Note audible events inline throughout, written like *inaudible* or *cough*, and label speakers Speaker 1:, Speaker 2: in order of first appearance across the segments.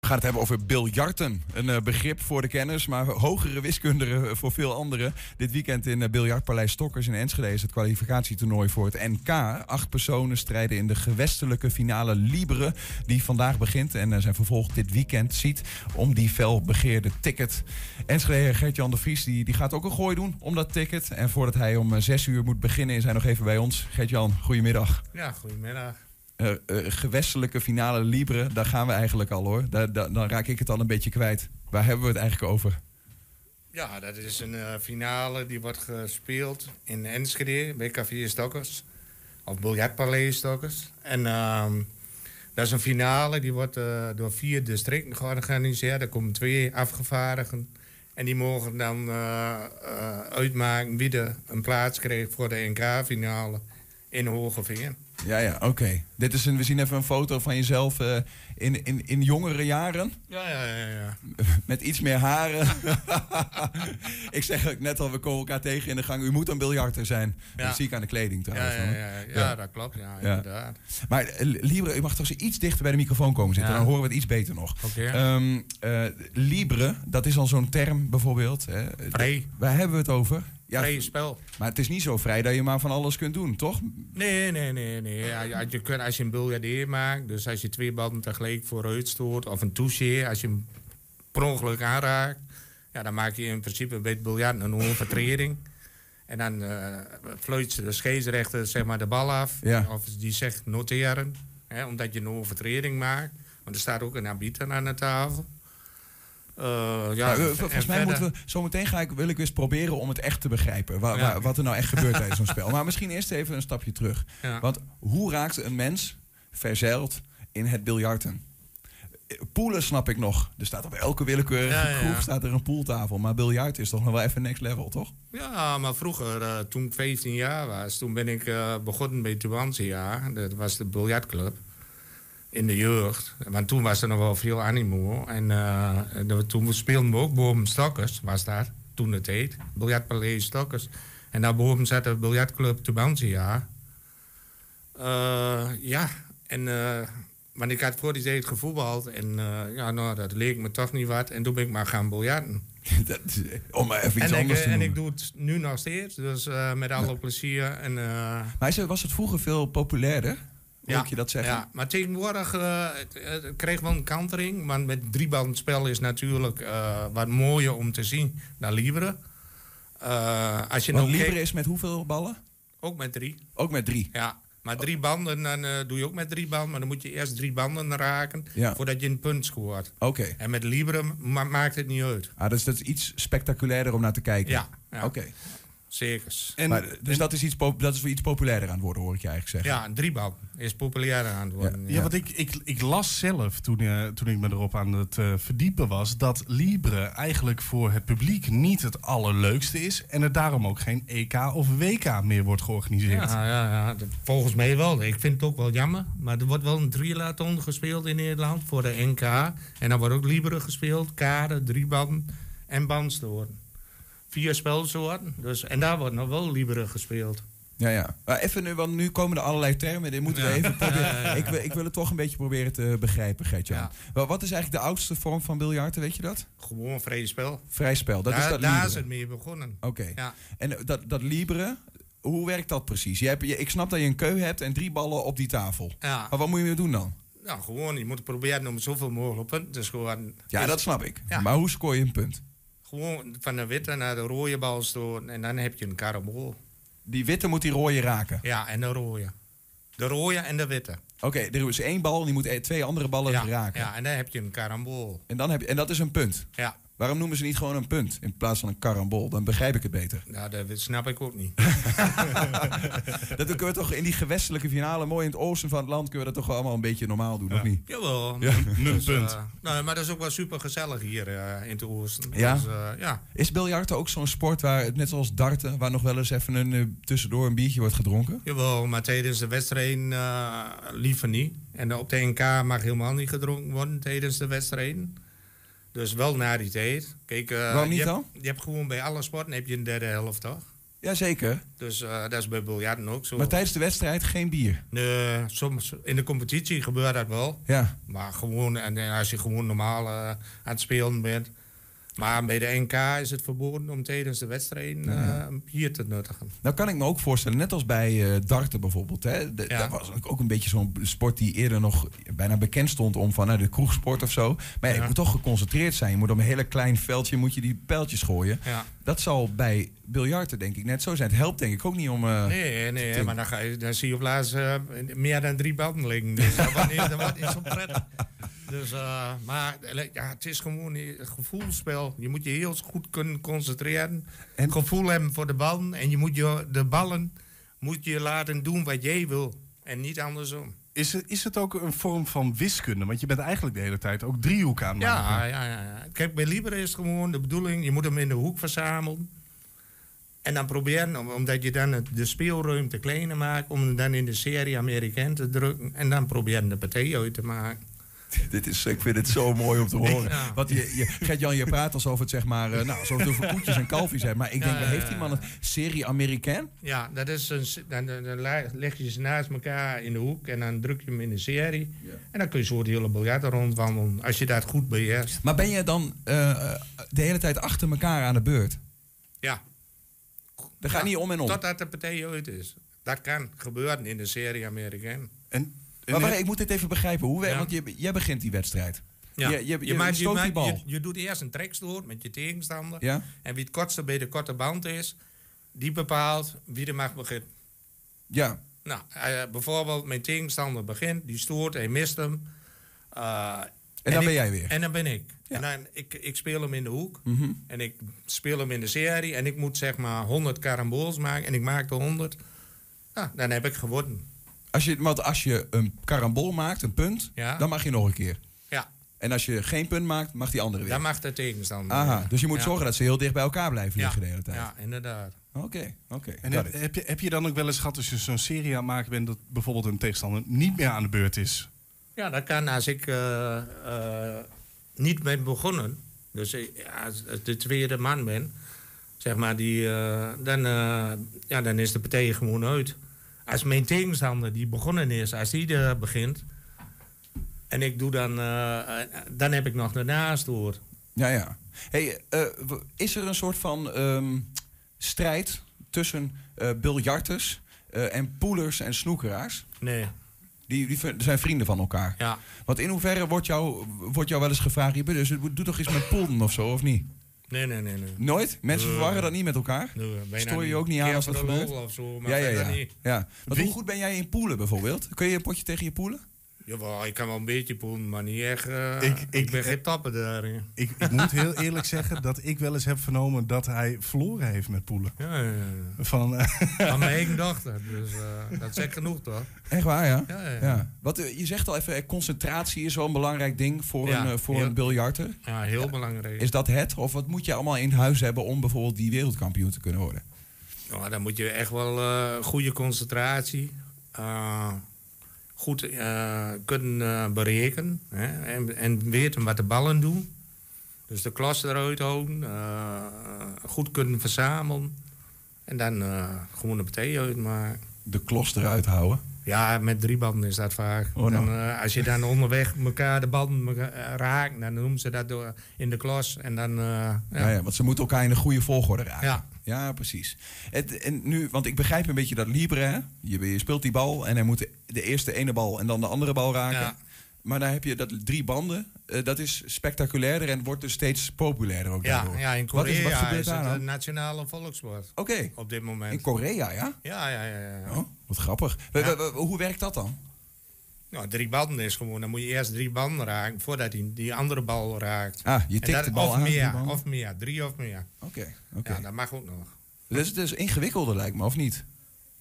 Speaker 1: We gaan het hebben over biljarten. Een eh, begrip voor de kenners, maar hogere wiskunde voor veel anderen. Dit weekend in eh, Biljartpaleis Stokkers in Enschede is het kwalificatietoernooi voor het NK. Acht personen strijden in de gewestelijke finale Libre, die vandaag begint en eh, zijn vervolg dit weekend ziet om die felbegeerde ticket. Enschede Gert-Jan de Vries die, die gaat ook een gooi doen om dat ticket. En voordat hij om eh, zes uur moet beginnen is hij nog even bij ons. Gert-Jan, goedemiddag.
Speaker 2: Ja, goedemiddag.
Speaker 1: eh eh, gewestelijke finale Libre, daar gaan we eigenlijk al hoor. Daar, daar- dan raak ik het al een beetje kwijt. Waar hebben we het eigenlijk over?
Speaker 2: Ja, dat is een eh, finale die wordt gespeeld in Enschede bij Café Stokkers. Of Biljartpaleis Stokkers. En ehm, dat is een finale die wordt eh, door vier districten georganiseerd. Er komen twee afgevaardigden. En die mogen dan eh, eh, uitmaken wie er een plaats kreeg voor de NK-finale in Hogeveen.
Speaker 1: Ja, ja, oké. Dit is een, we zien even een foto van jezelf eh, in, in, in jongere jaren.
Speaker 2: Ja, ja, ja. ja.
Speaker 1: Met iets meer haren. *laughs* ik zeg het net al, we komen elkaar tegen in de gang. U moet een biljarter zijn.
Speaker 2: Ja.
Speaker 1: Dat zie ik aan de kleding
Speaker 2: Ja,
Speaker 1: trouwens.
Speaker 2: ja,
Speaker 1: hoor.
Speaker 2: ja, ja. Ja, dat klopt. Ja, inderdaad.
Speaker 1: Maar eh, Libre, u mag toch eens iets dichter bij de microfoon komen zitten.
Speaker 2: Ja.
Speaker 1: Dan horen we het iets beter nog.
Speaker 2: Oké.
Speaker 1: Ehm, eh, Libre, dat is al zo'n term bijvoorbeeld. Hè.
Speaker 2: Vrij.
Speaker 1: Waar hebben we het over? Ja,
Speaker 2: Vrij spel.
Speaker 1: Maar het is niet zo vrij dat je maar van alles kunt doen, toch?
Speaker 2: Nee, nee, nee. nee. Als, je- als je, kunt- als je een biljardeer maakt, dus als je twee ballen tegelijk vooruit stoot... of een touche, als je hem per ongeluk aanraakt... Ja, dan maak je in principe bij het biljart een overtreding. En dan eh fluit de scheidsrechter zeg maar, de bal af.
Speaker 1: Ja.
Speaker 2: Of die zegt noteren, hè, omdat je een overtreding maakt. Want er staat ook een arbiter aan de tafel. Eh, ja,
Speaker 1: Nou, eh,
Speaker 2: en
Speaker 1: vol- volgens mij
Speaker 2: verder-
Speaker 1: moeten we zometeen ga ik, wil ik eens proberen om het echt te begrijpen. Wa-
Speaker 2: Ja.
Speaker 1: wa- wat er nou echt gebeurt tijdens zo'n spel. Maar misschien eerst even een stapje terug.
Speaker 2: Ja.
Speaker 1: Want hoe raakt een mens verzeild in het biljarten? Eh, Poelen snap ik nog. Er staat op elke willekeurige
Speaker 2: Ja, ja,
Speaker 1: kroeg
Speaker 2: ja.
Speaker 1: staat er een poeltafel. Maar biljart is toch nog wel even next level, toch? *laughs*
Speaker 2: Ja, maar vroeger, eh, toen ik 15 jaar was, toen ben ik eh, begonnen bij Tuantia. Dat was de biljartclub in de jeugd. Want toen was er nog wel veel animo. En eh, en dat- toen speelden we ook boven Stokkers, was dat toen het heet. Biljartpaleis Stokkers. En daarboven zat de biljartclub Tubantia. Eh ja, en, eh, want ik had voor die tijd gevoetbald. En eh, ja, nou, dat leek me toch niet wat. En toen ben ik maar gaan biljarten
Speaker 1: Dat is- eh, om maar even iets
Speaker 2: en
Speaker 1: anders
Speaker 2: ik,
Speaker 1: te
Speaker 2: eh, En
Speaker 1: noemen.
Speaker 2: ik doe het nu nog steeds, dus eh, met alle plezier. En, eh,
Speaker 1: Maar is- was het vroeger veel populairder? Hoe
Speaker 2: ja,
Speaker 1: moet je dat zeggen?
Speaker 2: Ja, maar tegenwoordig eh, het, het kreeg wel een kantering. Want met driebandspel is natuurlijk eh, wat mooier om te zien dan Libre. Eh, als je
Speaker 1: Want
Speaker 2: nou
Speaker 1: Libre
Speaker 2: kijkt-
Speaker 1: is met hoeveel ballen?
Speaker 2: ook met drie.
Speaker 1: Ook met drie.
Speaker 2: Ja, maar drie banden, dan eh, doe je ook met drie banden. Maar dan moet je eerst drie banden raken
Speaker 1: Ja.
Speaker 2: voordat je een punt scoort.
Speaker 1: Oké.
Speaker 2: En met Libre ma- maakt het niet uit.
Speaker 1: Ah, dus dat is iets spectaculairder om naar te kijken.
Speaker 2: Ja, ja.
Speaker 1: Oké.
Speaker 2: Zeker.
Speaker 3: En,
Speaker 1: Maar, dus dat is, iets pop- dat is weer iets populairder aan het worden, hoor ik je eigenlijk zeggen.
Speaker 2: Ja, een driebal is populairder aan het worden.
Speaker 3: ja, want ik, ik, ik las zelf toen, eh, toen ik me erop aan het eh, verdiepen was... dat Libre eigenlijk voor het publiek niet het allerleukste is... en er daarom ook geen EK of WK meer wordt georganiseerd.
Speaker 2: Ja, ja, ja, d- volgens mij wel. Ik vind het ook wel jammer. Maar er wordt wel een triathlon gespeeld in Nederland voor de NK. En dan wordt ook Libre gespeeld, kade, drieband en bandstoorten. Vier spelsoorten. Dus, en daar wordt nog wel Libre gespeeld.
Speaker 1: Ja, ja. Maar even nu, want nu komen er allerlei termen. Dit moeten we
Speaker 2: *laughs*
Speaker 1: even proberen. Ik, wil, ik wil het toch een beetje proberen te begrijpen, Gertjan.
Speaker 2: Ja.
Speaker 1: Wel, Wat is eigenlijk de oudste vorm van biljarten, weet je dat?
Speaker 2: Gewoon vrij spel.
Speaker 1: Vrij spel, dat
Speaker 2: daar
Speaker 1: is dat
Speaker 2: daar
Speaker 1: libre.
Speaker 2: is het mee begonnen.
Speaker 1: Oké.
Speaker 2: Ja.
Speaker 1: En eh, dat, dat libre, hoe werkt dat precies? Je hebt, je, ik snap dat je een keu hebt en drie ballen op die tafel.
Speaker 2: Ja.
Speaker 1: Maar wat moet je mee doen dan?
Speaker 2: Nou, gewoon, je moet proberen om zoveel mogelijk punten te scoren.
Speaker 1: Ja,
Speaker 2: Dus
Speaker 1: dat snap ik.
Speaker 2: Ja.
Speaker 1: Maar hoe scoor je een punt?
Speaker 2: Gewoon van de witte naar de rode bal stoten. En dan heb je een karamol.
Speaker 1: Die witte moet die rode raken.
Speaker 2: Ja, en de rode. De rode en de witte.
Speaker 1: Oké, er is één bal en die moet e- twee andere ballen
Speaker 2: ja,
Speaker 1: raken.
Speaker 2: Ja, en dan heb je een karambool.
Speaker 1: En, dan heb je, en dat is een punt.
Speaker 2: Ja,
Speaker 1: Waarom noemen ze niet gewoon een punt in plaats van een karambol? Dan begrijp ik het
Speaker 2: *laughs*
Speaker 1: beter.
Speaker 2: nou, dat snap ik ook niet.
Speaker 1: Dat kunnen we toch in die gewestelijke finale, mooi in het oosten van het land, kunnen we dat toch allemaal een beetje normaal doen, of niet?
Speaker 2: Jawel.
Speaker 1: Ja,
Speaker 3: nul punt.
Speaker 2: eh, nou, maar dat is ook wel super gezellig hier eh, in het oosten.
Speaker 1: Ja?
Speaker 2: Dus, eh, ja.
Speaker 1: Is biljarten ook zo'n sport waar, net zoals darten, waar nog wel eens even een, eh, tussendoor een biertje wordt gedronken?
Speaker 2: Jawel, maar tijdens de wedstrijden eh, liever niet. En op de NK mag helemaal niet gedronken worden tijdens de wedstrijden. Dus wel na die tijd. Kijk, eh,
Speaker 1: Waarom niet
Speaker 2: je hebt-
Speaker 1: dan?
Speaker 2: je hebt gewoon bij alle sporten heb je een derde helft, toch?
Speaker 1: Jazeker.
Speaker 2: Dus eh, dat is bij biljarten ook zo.
Speaker 1: Maar tijdens de wedstrijd geen bier.
Speaker 2: Nee, soms in de competitie gebeurt dat wel.
Speaker 1: Ja.
Speaker 2: Maar gewoon, en eh, als je gewoon normaal eh, aan het spelen bent. Maar bij de NK is het verboden om tijdens de wedstrijd eh, een bier te nuttigen.
Speaker 1: Nou kan ik me ook voorstellen, net als bij eh, darten bijvoorbeeld. Hè, de-
Speaker 2: Ja.
Speaker 1: Dat was ook- ook een beetje zo'n sport die eerder nog bijna bekend stond om van nou, de kroegsport of zo. Maar ja, je
Speaker 2: Ja.
Speaker 1: moet toch geconcentreerd zijn. Je moet op een hele klein veldje moet je die pijltjes gooien.
Speaker 2: Ja.
Speaker 1: Dat zal bij biljarten denk ik net zo zijn. Het helpt denk ik ook niet om... eh,
Speaker 2: Nee, nee,
Speaker 1: Tink.
Speaker 2: maar dan, ga je, dan zie je op laatst eh, meer dan drie banden liggen. Dus dat wordt niet, dat wordt niet zo prettig. Dus, eh, maar eh, ja, het is gewoon een gevoelsspel. Je moet je heel goed kunnen concentreren.
Speaker 3: En-
Speaker 2: En gevoel hebben voor de ballen. En je moet je, de ballen moet je laten doen wat jij wil. En niet andersom.
Speaker 3: Is het, is het ook een vorm van wiskunde? Want je bent eigenlijk de hele tijd ook driehoeken aan het maken.
Speaker 2: Ja, ja, ja, ja. Kijk, bij Libre is het gewoon de bedoeling, je moet hem in de hoek verzamelen. En dan proberen, om- omdat je dan het- de speelruimte kleiner maakt, om hem dan in de serie Amerikaan te drukken. En dan proberen de partij uit te maken.
Speaker 1: *laughs* Dit is, ik vind het zo mooi om te horen.
Speaker 2: Ja.
Speaker 1: Want je, je, Gert-Jan, je praat alsof het zeg maar, eh, nou, alsof het over koetjes en kalfjes zijn. Maar ik denk,
Speaker 2: Ja,
Speaker 1: waar
Speaker 2: ja,
Speaker 1: heeft die man een serie Amerikaan?
Speaker 2: Ja, dat is een, se- dan, dan, dan la- leg je ze naast elkaar in de hoek en dan druk je hem in de serie. En dan kun je zo de hele biljart rondwandelen, als je dat goed beheerst.
Speaker 1: Maar ben jij dan eh, eh, de hele tijd achter elkaar aan de beurt?
Speaker 2: Ja,
Speaker 1: Dat gaat
Speaker 2: Ja,
Speaker 1: niet om en om.
Speaker 2: totdat de partij uit is. Dat kan gebeuren in de serie Amerikaan.
Speaker 3: En, en
Speaker 1: Maar
Speaker 3: heb-
Speaker 1: wacht, ik moet dit even begrijpen. Hoe, we-
Speaker 2: Ja.
Speaker 1: Want je, jij begint die wedstrijd.
Speaker 2: Ja.
Speaker 1: Je, je, je,
Speaker 2: maakt-
Speaker 1: stoot die
Speaker 2: maakt-
Speaker 1: bal.
Speaker 2: je- je doet eerst een trekstoot met je tegenstander.
Speaker 1: ja?
Speaker 2: En wie het kortste bij de korte band is, die bepaalt wie er mag beginnen.
Speaker 1: ja.
Speaker 2: Nou, eh, bijvoorbeeld mijn tegenstander begint, die stoort, hij mist hem. Eh,
Speaker 1: En dan
Speaker 2: ik-
Speaker 1: ben jij weer.
Speaker 2: En dan ben ik.
Speaker 1: Ja. Mhm.
Speaker 2: En dan, ik, ik speel hem in de hoek. En ik speel hem in de serie. En ik moet zeg maar 100 karambols maken. En ik maak de 100. Nou, dan heb ik gewonnen.
Speaker 1: Als je, want als je een karambol maakt, een punt,
Speaker 2: Ja.
Speaker 1: dan mag je nog een keer.
Speaker 2: Ja,
Speaker 1: En als je geen punt maakt, mag die andere weer.
Speaker 2: dan mag de tegenstander.
Speaker 1: Aha,
Speaker 2: winnen.
Speaker 1: dus je moet
Speaker 2: Ja.
Speaker 1: zorgen dat ze heel dicht bij elkaar blijven
Speaker 2: ja.
Speaker 1: liggen de hele tijd.
Speaker 2: Ja, inderdaad.
Speaker 1: Oké, oké.
Speaker 3: En
Speaker 1: got
Speaker 3: heb,
Speaker 1: it.
Speaker 3: heb, je, heb je dan ook wel eens gehad als je zo'n serie aan het maken bent... dat bijvoorbeeld een tegenstander niet meer aan de beurt is?
Speaker 2: Ja, dat kan als ik eh, eh, niet ben begonnen. Dus eh, als ik de tweede man ben, zeg maar, die, eh, dan, eh, ja, dan is de partij gewoon uit. Als mijn tegenstander die begonnen is, als die er begint... en ik doe dan... eh, eh, dan heb ik nog daarnaast hoor.
Speaker 1: Ja, ja. Hey, eh, w- is er een soort van ehm, strijd tussen eh biljarters eh, en poelers en snoekeraars?
Speaker 2: Nee,
Speaker 1: Die, die v- zijn vrienden van elkaar.
Speaker 2: ja.
Speaker 1: Want in hoeverre wordt jou, wordt jou wel eens gevraagd... "Je bent- dus doe toch eens met poelen of zo, of niet?
Speaker 2: Nee, nee, nee, nee.
Speaker 1: Nooit? Mensen
Speaker 2: Eh.
Speaker 1: verwarren dat niet met elkaar?
Speaker 2: Nee, bijna
Speaker 1: Stoor je je ook niet aan als dat
Speaker 2: Kerstverlof
Speaker 1: gebeurt?
Speaker 2: Of zo, maar
Speaker 1: Ja, ja,
Speaker 2: verder
Speaker 1: ja.
Speaker 2: niet.
Speaker 1: ja. Want hoe
Speaker 3: Wie-
Speaker 1: goed ben jij in poelen bijvoorbeeld? Kun je een potje tegen je poelen?
Speaker 2: Jawel, ik kan wel een beetje poen, maar niet echt... eh,
Speaker 3: Ik-
Speaker 2: ik,
Speaker 3: ik-
Speaker 2: ben geen tapper daarin.
Speaker 3: Ik, ik moet
Speaker 1: *laughs*
Speaker 3: heel eerlijk zeggen dat ik wel eens heb vernomen... dat hij verloren heeft met poelen.
Speaker 2: Ja, ja, ja.
Speaker 3: Van, eh,
Speaker 2: Van mijn eigen dochter. Dus eh, dat zegt genoeg, toch?
Speaker 1: Echt waar, ja?
Speaker 2: Ja, ja, ja.
Speaker 1: Wat, eh, je zegt al even, eh, concentratie is wel een belangrijk ding voor,
Speaker 2: Ja,
Speaker 1: een, eh, voor
Speaker 2: heel-
Speaker 1: een biljarter.
Speaker 2: Ja, heel belangrijk.
Speaker 1: Is dat het? Of wat moet je allemaal in huis hebben om bijvoorbeeld die wereldkampioen te kunnen worden?
Speaker 2: Nou, dan moet je echt wel eh, goede concentratie. eh, goed eh, kunnen eh, berekenen. Hè? En, en weten wat de ballen doen. Dus de klas eruit houden. eh, goed kunnen verzamelen. En dan eh, gewoon de partij uitmaken.
Speaker 1: De klos eruit houden.
Speaker 2: Ja, met drie banden is dat vaak.
Speaker 1: Oh, nou.
Speaker 2: Dan, eh, als je dan onderweg elkaar de banden elkaar, eh, raakt, dan noemen ze dat door, in de klas. En dan, eh,
Speaker 1: Ja. Ja, want ze moeten elkaar in de goede volgorde raken.
Speaker 2: Ja.
Speaker 1: Ja, precies. Het, en nu, want ik begrijp een beetje dat Libre, hè? Je, je speelt die bal en hij moet de eerste ene bal en dan de andere bal raken.
Speaker 2: Ja.
Speaker 1: Maar dan heb je dat drie banden. eh, dat is spectaculairder en wordt dus steeds populairder ook
Speaker 2: Ja,
Speaker 1: daardoor.
Speaker 2: ja, in
Speaker 1: Wat is-
Speaker 2: Korea
Speaker 1: wat
Speaker 2: is,
Speaker 1: gebeurt daar
Speaker 2: het
Speaker 1: dan?
Speaker 2: een nationale volkssport
Speaker 1: Oké,
Speaker 2: op dit
Speaker 1: in
Speaker 2: moment.
Speaker 1: Korea, ja?
Speaker 2: Ja, ja, ja. ja.
Speaker 1: Oh, wat grappig. We- we- we- hoe werkt dat dan?
Speaker 2: Nou, drie banden is gewoon, dan moet je eerst drie banden raken voordat hij die andere bal raakt.
Speaker 1: Ah, je
Speaker 2: En
Speaker 1: tikt
Speaker 2: dat-
Speaker 1: de bal
Speaker 2: of
Speaker 1: aan. die
Speaker 2: Meer,
Speaker 1: bal.
Speaker 2: of meer, drie of meer.
Speaker 1: Oké, oké.
Speaker 2: Ja, nou. dat mag ook nog.
Speaker 1: Dus het is ingewikkelder lijkt me, of niet?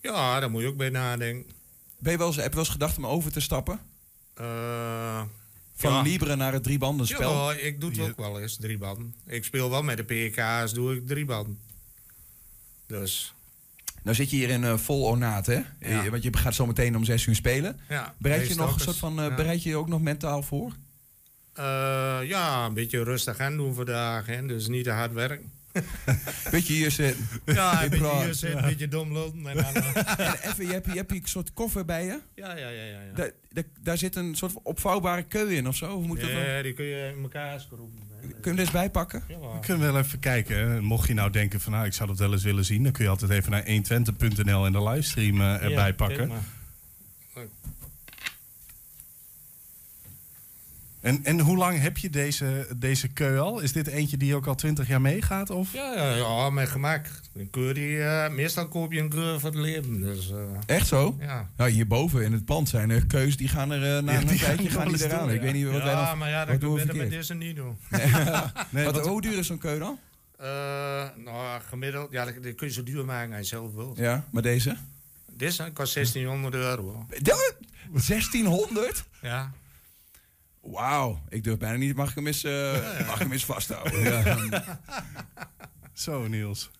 Speaker 2: Ja, daar moet je ook bij nadenken.
Speaker 1: Ben je wel eens, heb je wel eens gedacht om over te stappen?
Speaker 2: Eh,
Speaker 1: Van
Speaker 2: ja.
Speaker 1: Libre naar het driebandenspel?
Speaker 2: Jawel, ik doe het
Speaker 3: Ja.
Speaker 2: ook wel eens, drie banden. Ik speel wel met de PK's, doe ik drie banden. Dus,
Speaker 1: Nou zit je hier in eh, vol ornaat, hè? Eh, Want je gaat zo meteen om zes uur spelen.
Speaker 2: ja.
Speaker 1: Bereid je,
Speaker 2: meest
Speaker 1: nog een
Speaker 2: ook
Speaker 1: soort
Speaker 2: eens,
Speaker 1: van, eh,
Speaker 2: ja.
Speaker 1: bereid je je ook nog mentaal voor? *laughs*
Speaker 2: Eh, ja, een beetje rustig aan doen vandaag. Hè? Dus niet te hard werken.
Speaker 1: Beetje hier eh, zitten.
Speaker 2: Ja, een beetje
Speaker 1: praat.
Speaker 2: hier zitten, een beetje dom lopen. En dan,
Speaker 1: *laughs*
Speaker 2: eh,
Speaker 1: En even, je hebt, je hebt hier een soort koffer bij je.
Speaker 2: ja, ja, ja. ja, ja.
Speaker 1: Daar, daar, daar zit een soort opvouwbare keu in of zo. Hoe moet ik dat dan?
Speaker 2: Ja, die kun je in elkaar schroeven. hè.
Speaker 1: Kun je hem er eens bij pakken?
Speaker 2: Jawel.
Speaker 3: We kunnen wel even kijken. hè. Mocht je nou denken van nou, ik zou dat wel eens willen zien, dan kun je altijd even naar 120.nl en de livestream eh, erbij
Speaker 2: Ja,
Speaker 3: pakken.
Speaker 2: kijk maar.
Speaker 3: En, en hoe lang heb je deze, deze keu al? Is dit eentje die ook al 20 jaar meegaat? Of?
Speaker 2: Ja, ja, ja, met gemak. Een keur die, eh, meestal koop je een keur voor het leven. Dus, eh,
Speaker 1: Echt zo?
Speaker 2: ja.
Speaker 1: Nou, hierboven in het pand zijn er keus die gaan er eh, na
Speaker 3: Ja,
Speaker 1: een
Speaker 3: die gaan
Speaker 1: tijdje
Speaker 3: er
Speaker 1: gaan
Speaker 3: wel
Speaker 1: die
Speaker 3: eens
Speaker 1: eraan.
Speaker 3: door,
Speaker 1: Ik weet niet wat
Speaker 2: ja,
Speaker 1: wij *laughs* dan...
Speaker 2: maar ja,
Speaker 1: wat
Speaker 2: dat
Speaker 1: doen we
Speaker 2: doen we met
Speaker 1: verkeerd?
Speaker 2: deze niet doen.
Speaker 3: Nee,
Speaker 1: Wat,
Speaker 3: wat-
Speaker 1: hoe duur is zo'n keu dan?
Speaker 2: Eh, nou, gemiddeld, ja, dat, dat kun je zo duur maken als je zelf wilt.
Speaker 1: Ja, maar deze?
Speaker 2: Dit hè, kost 1600 euro.
Speaker 1: Dat- 1600?
Speaker 2: Ja.
Speaker 1: Wauw, ik durf bijna niet. Mag ik hem eens, eh, Mag ik hem eens vasthouden? Ja.
Speaker 3: Zo, Niels.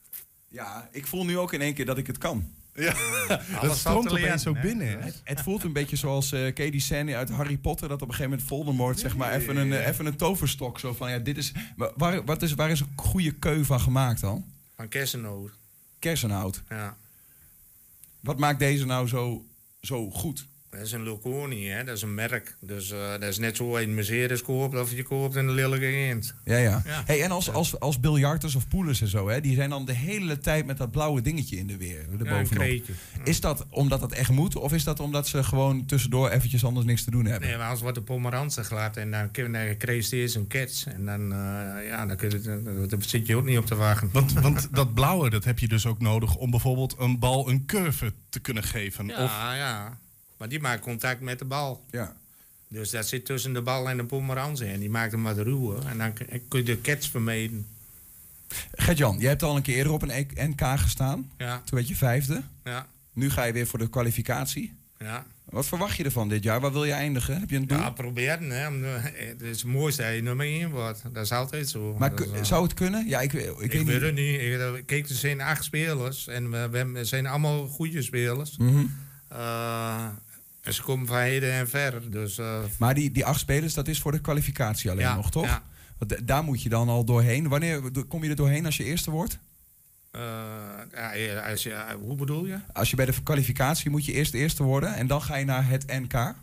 Speaker 1: ja, ik voel nu ook in één keer dat ik het kan.
Speaker 3: Ja, dat
Speaker 2: valt
Speaker 3: stroomt
Speaker 2: te leren,
Speaker 3: opeens ook
Speaker 2: hè?
Speaker 3: binnen. hè?
Speaker 1: Het voelt een beetje zoals eh Katie Sandy uit Harry Potter... dat op een gegeven moment Voldemort zeg maar, even, een, eh, even een toverstok... zo van, ja, dit is... wa- Waar, wat is, waar is een goede keu van gemaakt dan?
Speaker 2: Van kersennoot.
Speaker 1: Kersenhout.
Speaker 2: Ja.
Speaker 1: Wat maakt deze nou zo, zo goed?
Speaker 2: Dat is een Loconi, hè? dat is een merk. Dus eh, dat is net zo een Mercedes koopt of je koopt een lelijke eend.
Speaker 1: Ja, ja.
Speaker 2: Ja.
Speaker 1: Hey, en als, als, als biljarters of poelers en zo, hè, die zijn dan de hele tijd met dat blauwe dingetje in de weer.
Speaker 2: Ja, een
Speaker 1: Erbovenop.
Speaker 2: kreetje.
Speaker 1: is dat omdat dat echt moet, of is dat omdat ze gewoon tussendoor eventjes anders niks te doen hebben?
Speaker 2: Nee, maar anders wordt de pomerantse glad en dan, kun- dan krijg je eerst een catch. En dan, eh, ja, dan, kun je, dan, dan- dan zit je ook niet op te wagen.
Speaker 3: Want, want dat blauwe, dat heb je dus ook nodig om bijvoorbeeld een bal een curve te kunnen geven.
Speaker 2: Ja,
Speaker 3: Of,
Speaker 2: ja. Maar die maakt contact met de bal.
Speaker 1: Ja.
Speaker 2: Dus dat zit tussen de bal en de pomerantse. En die maakt hem wat ruwer. En dan kun- kun je de catch vermijden.
Speaker 1: Gert-Jan, jij hebt al een keer eerder op een E- NK gestaan.
Speaker 2: Ja,
Speaker 1: Toen werd je vijfde.
Speaker 2: ja,
Speaker 1: Nu ga je weer voor de kwalificatie.
Speaker 2: ja.
Speaker 1: Wat verwacht je ervan dit jaar? Waar wil je eindigen? Heb je een doel?
Speaker 2: Ja, proberen. Hè. Om de- Het is het mooiste dat je nummer 1 wordt. Dat is altijd zo.
Speaker 1: maar
Speaker 2: Dat
Speaker 1: ku-
Speaker 2: is, eh,
Speaker 1: zou het kunnen? Ja, ik, ik,
Speaker 2: Ik,
Speaker 1: weet
Speaker 2: weet
Speaker 1: niet.
Speaker 2: het niet. Ik, eh, kijk, er zijn acht spelers. En we, we hebben- er zijn allemaal goede spelers.
Speaker 1: Mhm.
Speaker 2: Eh, en ze komen van heden en ver. Dus, eh,
Speaker 1: Maar die, die acht spelers, dat is voor de kwalificatie alleen
Speaker 2: ja,
Speaker 1: nog, toch?
Speaker 2: ja.
Speaker 1: Want da- daar moet je dan al doorheen. Wanneer kom je er doorheen als je eerste wordt?
Speaker 2: Eh, ja, als je, hoe bedoel je?
Speaker 1: Als je bij de kwalificatie moet je eerst eerste worden en dan ga je naar het NK.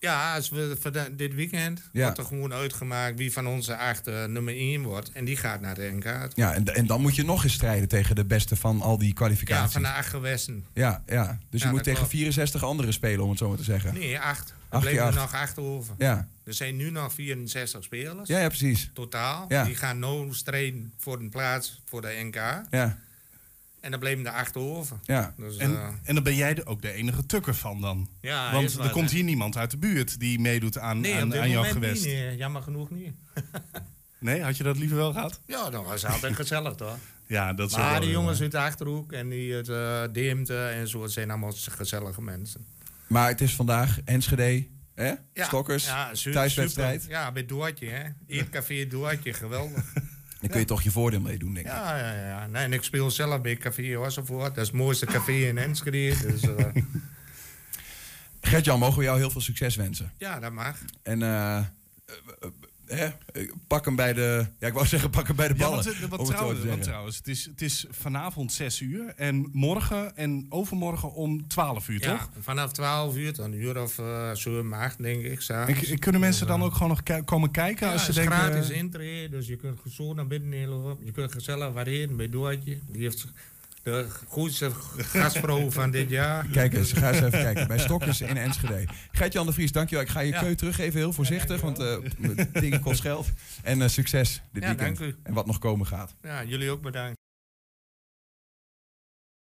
Speaker 2: Ja, als we voor de- dit weekend
Speaker 1: Ja.
Speaker 2: wordt er gewoon uitgemaakt wie van onze acht eh, nummer 1 wordt. En die gaat naar de NK.
Speaker 1: Ja, en, en dan moet je nog eens strijden tegen de beste van al die
Speaker 2: Ja,
Speaker 1: kwalificaties. Ja,
Speaker 2: van de acht gewesten.
Speaker 1: ja, Dus
Speaker 2: Ja,
Speaker 1: je moet
Speaker 2: dat
Speaker 1: tegen
Speaker 2: klopt.
Speaker 1: 64 anderen spelen, om het zo maar te zeggen.
Speaker 2: Nee, acht. Er
Speaker 1: Acht keer
Speaker 2: bleven er
Speaker 1: acht.
Speaker 2: nog acht over.
Speaker 1: Ja,
Speaker 2: Er zijn nu nog 64 spelers.
Speaker 1: ja, ja precies.
Speaker 2: Totaal.
Speaker 1: Ja.
Speaker 2: Die gaan nou strijden voor een plaats voor de NK.
Speaker 1: Ja,
Speaker 2: En dan bleven er acht over.
Speaker 1: ja.
Speaker 2: Dus, eh,
Speaker 3: en, en dan ben jij de- ook de enige tukker van dan.
Speaker 2: ja,
Speaker 3: Want
Speaker 2: is
Speaker 3: er
Speaker 2: wat,
Speaker 3: komt
Speaker 2: hè.
Speaker 3: hier niemand uit de buurt die meedoet aan,
Speaker 2: Nee, op
Speaker 3: aan,
Speaker 2: dit
Speaker 3: aan jouw
Speaker 2: moment
Speaker 3: gewest.
Speaker 2: niet. nee. Jammer genoeg niet.
Speaker 3: Nee, had je dat liever wel gehad?
Speaker 2: Ja, dat *laughs* was altijd gezellig toch? eh,
Speaker 3: Ja, dat is ook
Speaker 2: Maar
Speaker 3: wel
Speaker 2: die
Speaker 3: weer
Speaker 2: jongens
Speaker 3: waar.
Speaker 2: uit de Achterhoek en die het eh Deemte en zo, het zijn allemaal gezellige mensen.
Speaker 1: Maar het is vandaag Enschede, hè? Stokkers,
Speaker 2: ja, su-
Speaker 1: thuiswedstrijd.
Speaker 2: super. Ja, bij Doortje, hè. Eetcafé Doortje, geweldig.
Speaker 1: Dan kun je toch je voordeel mee doen, denk ik.
Speaker 2: ja, ja, ja. Nee, en ik speel zelf bij Café Wassenvoort. Dat is het mooiste café in Enschede. Dus, eh,
Speaker 1: Gert-Jan, mogen we jou heel veel succes wensen.
Speaker 2: ja, dat mag.
Speaker 1: En eh, eh, eh, hè, eh, pak hem bij de... Ja, ik wou zeggen pak hem bij de
Speaker 3: Ja,
Speaker 1: ballen.
Speaker 3: want, eh,
Speaker 1: om
Speaker 3: wat
Speaker 1: het zo
Speaker 3: trouwens,
Speaker 1: te
Speaker 3: wat
Speaker 1: zeggen.
Speaker 3: trouwens het, is, het is vanavond 6 uur en morgen en overmorgen om 12 uur,
Speaker 2: Ja,
Speaker 3: toch?
Speaker 2: vanaf 12 uur, tot een uur of eh 7, 8, denk ik.
Speaker 3: En,
Speaker 2: s'avonds.
Speaker 3: k-
Speaker 1: Dus,
Speaker 3: kunnen mensen
Speaker 1: eh,
Speaker 3: dan ook gewoon nog ki- komen kijken
Speaker 2: Ja,
Speaker 3: als ze
Speaker 2: het is
Speaker 3: denken...
Speaker 2: gratis intree, dus je kunt zo naar binnen lopen. Je kunt gezellig waarheen bij Doortje. Die heeft de goedste gastvrouw van dit jaar.
Speaker 1: Kijk eens, ga
Speaker 2: *laughs*
Speaker 1: eens even kijken. Bij Stokkers in Enschede. Gert-Jan de Vries, dankjewel. Ik ga je
Speaker 2: Ja.
Speaker 1: keu teruggeven, heel voorzichtig. want eh dingen kost geld. En eh, succes dit
Speaker 2: Ja,
Speaker 1: weekend.
Speaker 2: dank u.
Speaker 1: En wat nog komen gaat.
Speaker 2: Ja, jullie ook bedankt.